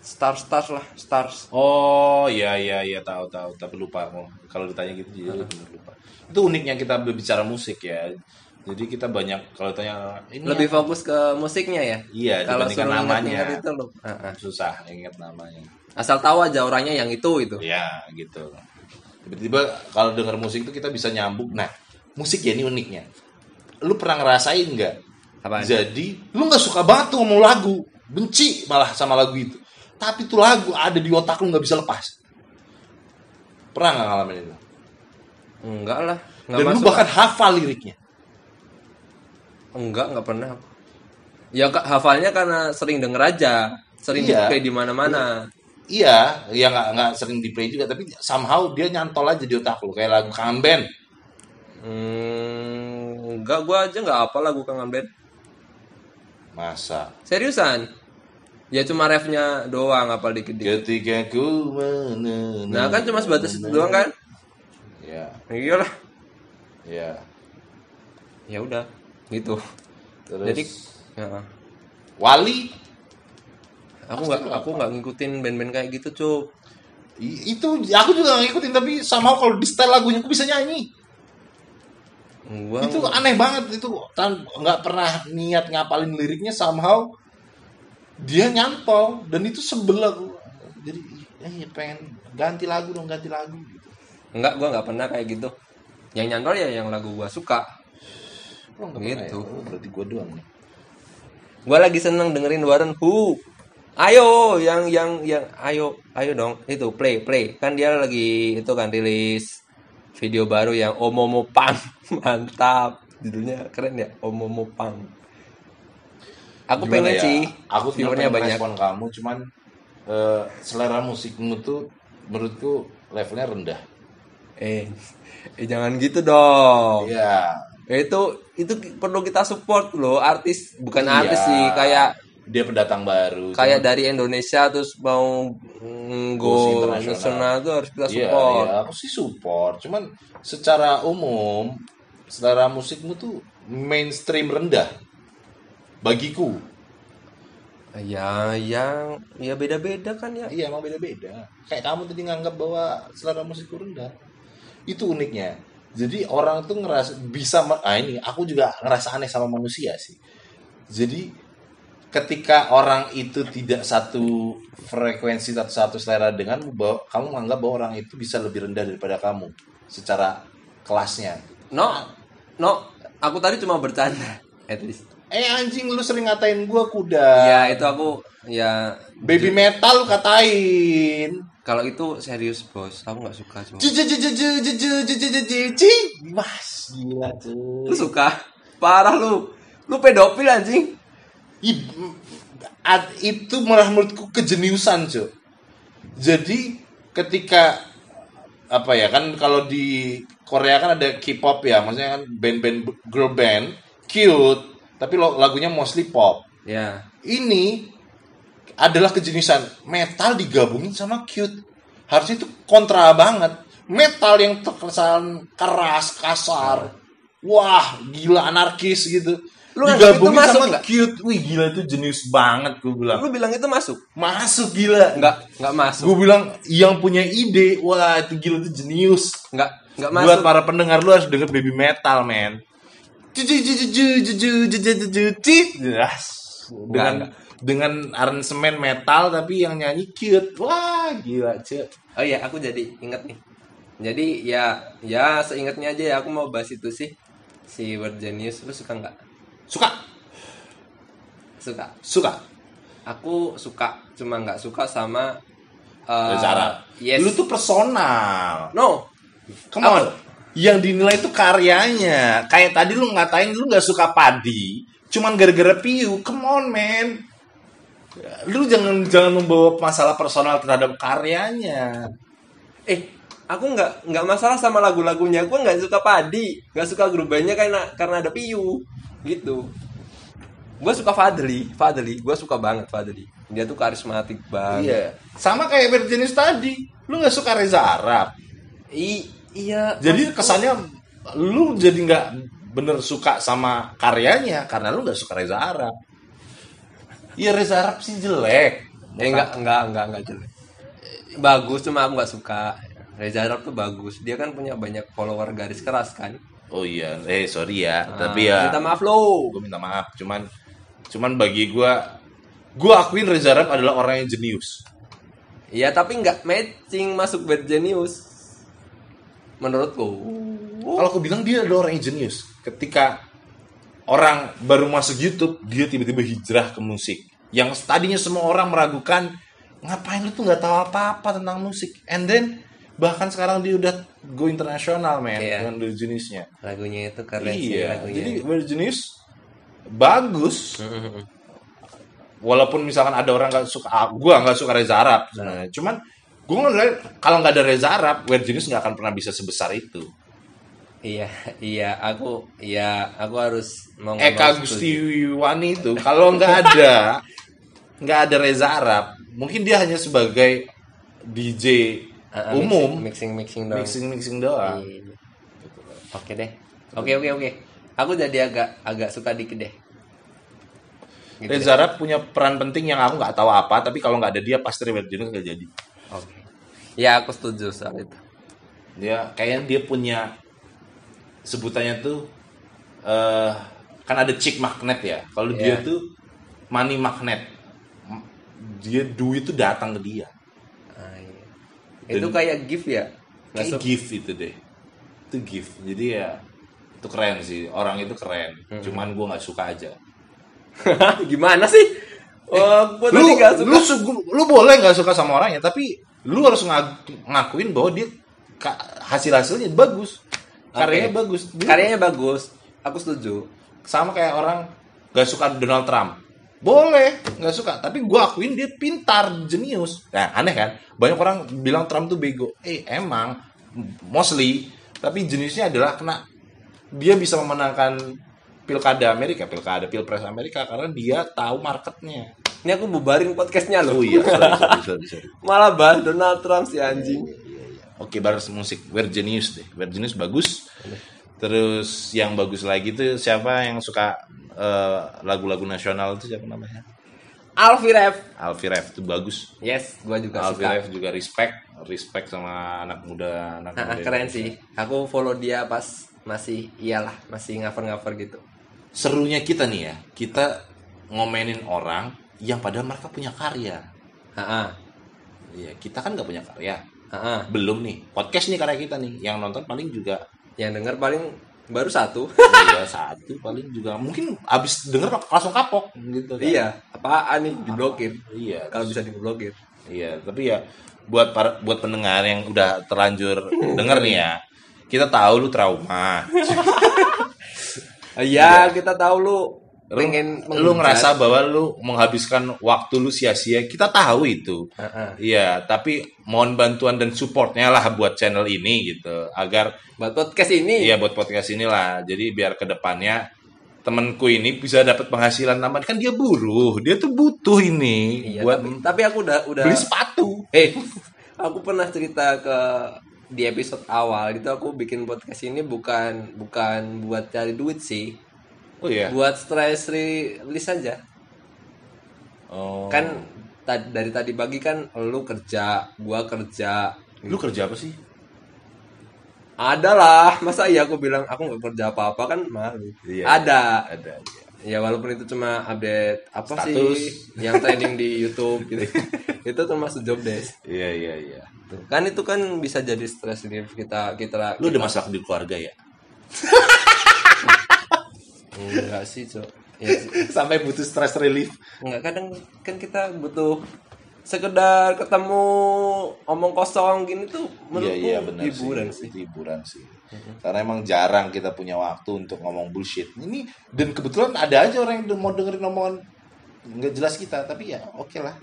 Star Stars lah, Stars. Oh iya iya iya tahu tahu tapi lupa aku. Kalau ditanya gitu jadi bener lupa. Itu uniknya kita berbicara musik ya. Jadi kita banyak kalau tanya ini Lebih fokus ke musiknya ya. Iya, kalau dibandingkan suruh namanya. ingat-ingat itu lu. apa? susah ingat namanya. Asal tahu aja orangnya yang itu itu. Ya gitu. Tiba-tiba kalau denger musik itu kita bisa nyambung. Nah musik ya ini uniknya. Lu pernah ngerasain nggak? Apaan? Jadi lu nggak suka banget tuh mau lagu, benci malah sama lagu itu. Tapi tuh lagu ada di otak lu nggak bisa lepas. Pernah nggak ngalamin itu? Enggak lah, enggak Dan lu masuk. bahkan hafal liriknya. Enggak, enggak pernah aku. Ya Kak, hafalnya karena sering denger aja, sering Iya. di di mana-mana. Iya, ya nggak nggak sering di play juga, tapi somehow dia nyantol aja di otak lu kayak lagu kangen band. Hmm, enggak gua aja enggak apa lagu Kangen Band. Masa Seriusan? Ya cuma refnya doang apa dikit-dikit. ketika ku menenun. Nah, kan cuma sebatas itu doang kan? Ya, Iyalah. ya. Ya udah, gitu. Terus Jadi, ya. Wali aku nggak aku nggak ngikutin band-band kayak gitu cup i- itu aku juga nggak ngikutin tapi somehow kalau di style lagunya aku bisa nyanyi. gua itu aneh banget itu tan nggak pernah niat ngapalin liriknya somehow dia nyantol dan itu sebel aku jadi eh, pengen ganti lagu dong ganti lagu gitu nggak gua nggak pernah kayak gitu yang nyantol ya yang lagu gua suka Lo nggak pernah Gitu. ya? Oh, berarti gue doang nih gua lagi seneng dengerin Warren Hu ayo yang yang yang ayo ayo dong itu play play kan dia lagi itu kan rilis video baru yang Omomo Pang [laughs] mantap judulnya keren ya Omomo Pang aku Gimana pengen ya? sih aku viewernya banyak respon kamu cuman eh, selera musikmu tuh menurutku levelnya rendah eh, eh jangan gitu dong Iya. Ya itu itu ki- perlu kita support loh artis bukan Nah, artis Iya. sih kayak dia pendatang baru kayak dari Indonesia terus mau mm, go internasional. internasional tuh harus kita Iya, support iya, aku sih support. Cuman secara umum, selera musikmu tuh mainstream rendah. Bagiku. Ya, yang ya beda-beda kan ya. Iya emang beda-beda. Kayak kamu tadi nganggap bahwa selera musikku rendah. Itu uniknya. Jadi orang tuh ngerasa bisa me- ah ini aku juga ngerasa aneh sama manusia sih. Jadi ketika orang itu tidak satu frekuensi atau satu selera denganmu, bahwa kamu menganggap bahwa orang itu bisa lebih rendah daripada kamu secara kelasnya. No, no, aku tadi cuma bercanda. At least. Eh anjing lu sering ngatain gua kuda. Ya itu aku ya Baby metal lu katain. kalau itu serius bos, aku nggak suka cuma. Ju- ju- ju- ju- ju- ju- ju- ju- ju- ju- ju- ju. Mas, gila Lu cuy. suka? Parah lu. Lu pedofil anjing. Ih, m- at- itu malah menurutku kejeniusan cuy. Jadi ketika apa ya kan kalau di Korea kan ada K-pop ya, maksudnya kan band-band girl band cute, tapi lo- lagunya mostly pop. Ya. ini adalah kejeniusan metal digabungin sama cute. Harusnya itu kontra banget. Metal yang terkesan keras, kasar. Wah, gila anarkis gitu. Lu nganggap digabungin itu masuk sama nggak? cute. Wih, gila itu jenius banget gue bilang. Lu bilang itu masuk? Masuk gila. Enggak, enggak masuk. Gue bilang yang punya ide, wah itu gila itu jenius. Enggak, enggak masuk. Buat para pendengar lu harus denger baby metal, man. Ju- ju- ju- ju- ju- ju- ju- ju- ju- ju- ju- ti- Yes. Dengan Enggak, dengan aransemen metal tapi yang nyanyi cute. Wah, gila, cuy. Oh iya, aku jadi inget nih. Jadi ya ya seingatnya aja ya aku mau bahas itu sih. Si Word Genius lu suka nggak? Suka, Suka. suka. Aku suka, cuma nggak suka sama eh, Bahasa Arab. Yes. Lu tuh personal. no. Come on. Yang dinilai itu karyanya. Kayak tadi lu ngatain lu nggak suka padi, cuman gara-gara piu. Come on, man. Lu jangan jangan membawa masalah personal terhadap karyanya. Eh, aku nggak nggak masalah sama lagu-lagunya. Gue nggak suka Padi, nggak suka grup bandnya karena karena ada Piu gitu. Gue suka Fadli, Fadli. Gue suka banget Fadli. Dia tuh karismatik banget. Iya. Sama kayak berjenis tadi. Lu nggak suka Reza Arab. I- iya. Jadi kesannya lu jadi nggak bener suka sama karyanya karena lu nggak suka Reza Arab. Iya Reza Arab sih jelek. Eh enggak, enggak, enggak, enggak jelek. Eh, Bagus, cuma aku nggak suka. Reza Arab tuh bagus. Dia kan punya banyak follower garis keras kan. Oh iya, eh sorry ya, tapi Ah, ya Minta maaf lo. gue minta maaf. Cuman cuman bagi gue gue akuin Reza Arab adalah orang yang jenius. Iya, tapi nggak matching masuk Bad Genius. Menurutku. Kalau aku bilang dia adalah orang yang jenius. Ketika orang baru masuk YouTube, dia tiba-tiba hijrah ke musik. Yang tadinya semua orang meragukan, ngapain lu tuh nggak tahu apa-apa tentang musik. And then bahkan sekarang dia udah go internasional, man, Iya. dengan dari jenisnya. Lagunya itu keren sih Iya. lagunya. Jadi dari jenis [laughs] bagus. Walaupun misalkan ada orang nggak suka, ah, gua nggak suka Reza Arab Nah. sebenarnya. Cuman gue ngeliat kalau nggak ada Reza Arab, Weird Genius nggak akan pernah bisa sebesar itu. iya, iya, aku iya, aku harus mau ngomong Eka setuju. Gustiwani itu kalau nggak ada nggak ada Reza Arab mungkin dia hanya sebagai DJ eh, Ah, ah, umum mixing mixing, mixing dong. mixing mixing doang Iya. Oke deh. Oke, oke, oke. Aku jadi agak agak suka dikit deh. Gitu Reza Arab punya peran penting yang aku nggak tahu apa tapi kalau nggak ada dia pasti Rebel Genius nggak jadi Oke. Ya aku setuju soal itu. dia kayaknya dia punya sebutannya tuh eh kan ada chick magnet ya kalau dia Iya. tuh money magnet M- dia duit tuh datang ke dia Ah, iya. Itu kayak gift ya. Kayak Masuk. gift itu deh. Itu gift. Jadi ya itu keren sih. Orang itu keren. Hmm. Cuman gua nggak suka aja. [laughs] Gimana sih? Oh, gua tadi Lu gak suka. lu su- lu boleh nggak suka sama orangnya, tapi lu harus ngaku- ngakuin bahwa dia hasil hasilnya bagus. Oke. Karyanya bagus. Dia Karyanya bagus. Aku setuju. sama kayak orang nggak suka Donald Trump. Boleh, nggak suka, tapi gua akuin dia pintar, jenius. Nah, aneh kan? Banyak orang bilang Trump tuh bego. Eh, emang mostly, tapi jenisnya adalah kena dia bisa memenangkan pilkada Amerika, pilkada pilpres Amerika karena dia tahu marketnya. Ini aku bubarin podcastnya loh. Oh iya, sorry, sorry, sorry, sorry. Malah bahas Donald Trump si anjing. Oke, baris musik. We're Genius deh. We're Genius bagus. Terus yang bagus lagi tuh siapa yang suka eh, lagu-lagu nasional tuh siapa namanya? Alfiref. Alfiref itu bagus. Yes, gua juga suka. Alfiref juga respect, respect sama anak muda, anak Ah, ah, muda. keren sih. Aku follow dia pas masih iyalah, masih ngaver-ngaver gitu. Serunya kita nih ya, kita ngomenin orang yang padahal mereka punya karya. Heeh. Iya, kita kan nggak punya karya. Heeh. Belum nih, podcast nih karya kita nih. Yang nonton paling juga Yang denger paling baru satu. [laughs] iya, satu paling juga mungkin abis denger langsung kapok gitu kan. iya, apaan nih diblokir? Iya. Kalau bisa diblokir. Iya, tapi ya buat para buat pendengar yang udah [laughs] terlanjur denger nih ya. Kita tahu lu trauma. Iya, kita tahu lu pengen lu ngerasa bahwa lu menghabiskan waktu lu sia-sia. Kita tahu itu. Heeh. Iya, tapi mohon bantuan dan supportnya lah buat channel ini gitu agar buat podcast ini. Iya buat podcast inilah. Jadi biar kedepannya temanku ini bisa dapat penghasilan tambahan kan dia buruh, dia tuh butuh ini Iya, buat tapi, tapi aku udah udah beli sepatu. Eh, aku pernah cerita ke di episode awal gitu aku bikin podcast ini bukan bukan buat cari duit sih, Oh iya. buat stress release aja. Oh. Kan ta- dari tadi pagi kan lu kerja, gua kerja. lu kerja apa sih? Adalah, masa iya aku bilang aku nggak kerja apa-apa kan malu. Iya. Ada. Ada. Ya walaupun itu cuma update apa Status. sih yang trending di YouTube [laughs] gitu. itu termasuk job desk. Iya iya iya. Tuh, Kan itu kan bisa jadi stress relief kita kita Lu ada masalah di keluarga ya? Enggak sih, Cok. Ya, sih. [laughs] Sampai butuh stress relief. enggak kadang kan kita butuh sekedar ketemu omong kosong gini tuh Iya menurutku iya benar hiburan sih. sih. Itu hiburan sih. Karena emang jarang kita punya waktu untuk ngomong bullshit. Ini dan kebetulan ada aja orang yang mau dengerin omongan nggak jelas kita, tapi ya oke lah.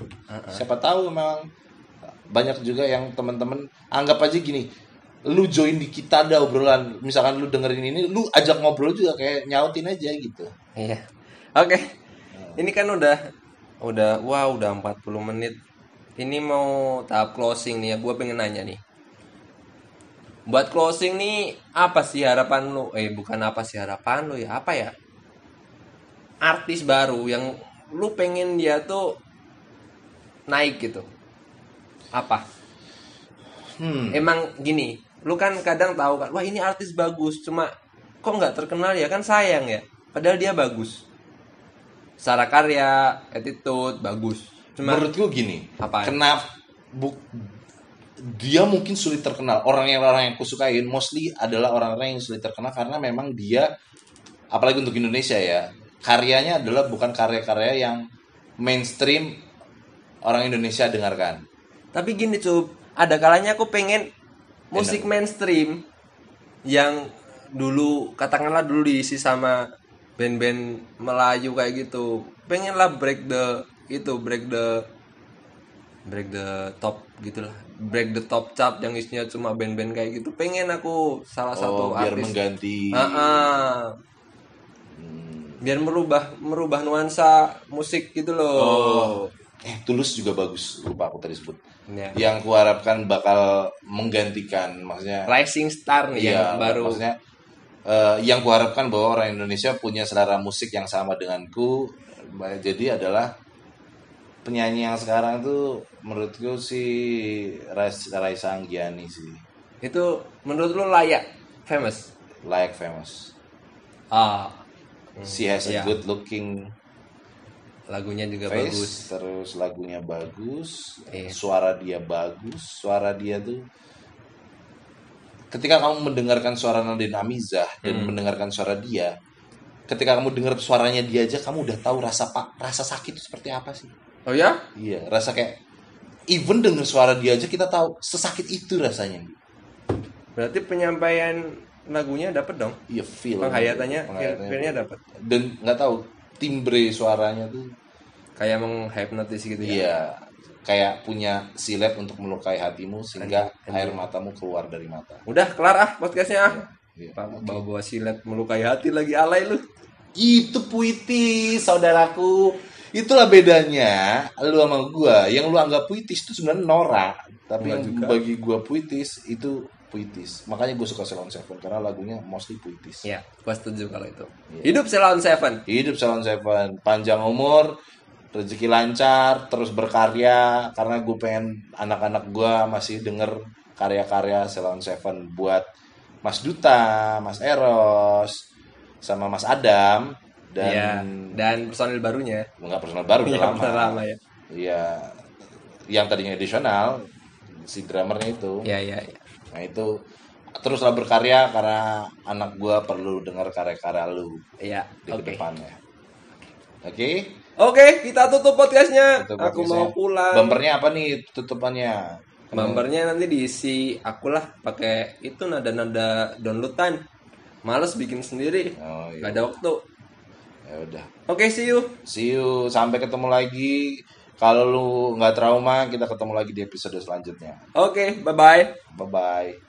Siapa tahu memang banyak juga yang teman-teman anggap aja gini. Lu join di kita ada obrolan. Misalkan lu dengerin ini, lu ajak ngobrol juga kayak nyautin aja gitu. Iya. Oke. Hmm. Ini kan udah udah wah udah 40 menit. Ini mau tahap closing nih ya. Gua pengen nanya nih. Buat closing nih apa sih harapan lu? Eh bukan apa sih harapan lu ya? Apa ya? Artis baru yang lu pengen dia tuh naik gitu. Apa? Hmm. Emang gini, lu kan kadang tahu kan, wah ini artis bagus, cuma kok nggak terkenal ya kan sayang ya. Padahal dia bagus. Secara karya, attitude bagus. Cuma menurut gue gini Apaan? kenapa bu- dia mungkin sulit terkenal orang yang orang yang kusukain mostly adalah orang-orang yang sulit terkenal karena memang dia apalagi untuk Indonesia ya karyanya adalah bukan karya-karya yang mainstream orang Indonesia dengarkan tapi gini cup, ada kalanya aku pengen musik mainstream yang dulu katakanlah dulu diisi sama band-band Melayu kayak gitu. Pengenlah break the itu break the break the top gitulah break the top chart yang isinya cuma band-band kayak gitu pengen aku salah satu oh, biar artis mengganti Ah-ah. Hmm. biar merubah merubah nuansa musik gitu loh oh eh tulus juga bagus lupa aku tadi sebut Ya. yang kuharapkan bakal menggantikan maksudnya rising star nih yang Iya, baru Maksudnya eh, yang kuharapkan bahwa orang Indonesia punya selera musik yang sama denganku, Ba- jadi adalah penyanyi yang sekarang tuh menurutku si Rais, Raisa Anggiani sih itu menurut lu layak famous layak famous. ah She has a iya. good looking lagunya juga face, bagus terus lagunya bagus, Iya. suara dia bagus, suara dia tuh ketika kamu mendengarkan suara Nadine Amizah dan Hmm. mendengarkan suara dia, ketika kamu dengar suaranya dia aja kamu udah tahu rasa pak rasa sakit itu seperti apa sih? oh ya Iya, rasa kayak even dengar suara dia aja kita tahu sesakit itu rasanya. berarti penyampaian lagunya dapet dong Iya, feel. penghayatannya Penghayatannya. feel-nya dapet dan nggak tahu timbre suaranya tuh kayak menghipnotis gitu ya Iya, kayak punya silet untuk melukai hatimu sehingga air matamu keluar dari mata. udah kelar ah podcastnya ah Iya. bawa bawa silet melukai hati lagi alay lu Itu puitis, saudaraku. Itulah bedanya lu sama gua. Yang lu anggap puitis itu sebenarnya norak, tapi Enggak yang juga. bagi gua puitis itu puitis. Makanya gua suka Salon Seven karena lagunya mostly puitis. Iya, ya gua setuju kalau itu hidup Ceylon Iya. Seven Hidup Salon Seven, panjang umur, rezeki lancar terus berkarya karena gue pengen anak-anak gue masih denger karya-karya Ceylon Seven buat Mas Duta, Mas Eros, sama Mas Adam dan Iya. Dan personil barunya. nggak personal baru udah Iya, lama. personal lama ya. Iya. yang tadinya additional si drummernya itu. Iya, iya, iya. Nah itu teruslah berkarya karena anak gua perlu dengar karya-karya lu Iya, di oke. kedepannya. Oke. Oke, kita tutup podcastnya. Itu Aku podcastnya. mau pulang. ya. Bumpernya apa nih tutupannya? Bumpernya nanti diisi akulah pakai itu nada-nada downloadan. Males bikin sendiri. Oh Gak iya. ada waktu. Ya udah. Oke, see you. See you sampai ketemu lagi. Kalau lu nggak trauma, kita ketemu lagi di episode selanjutnya. Oke, bye-bye. Bye bye.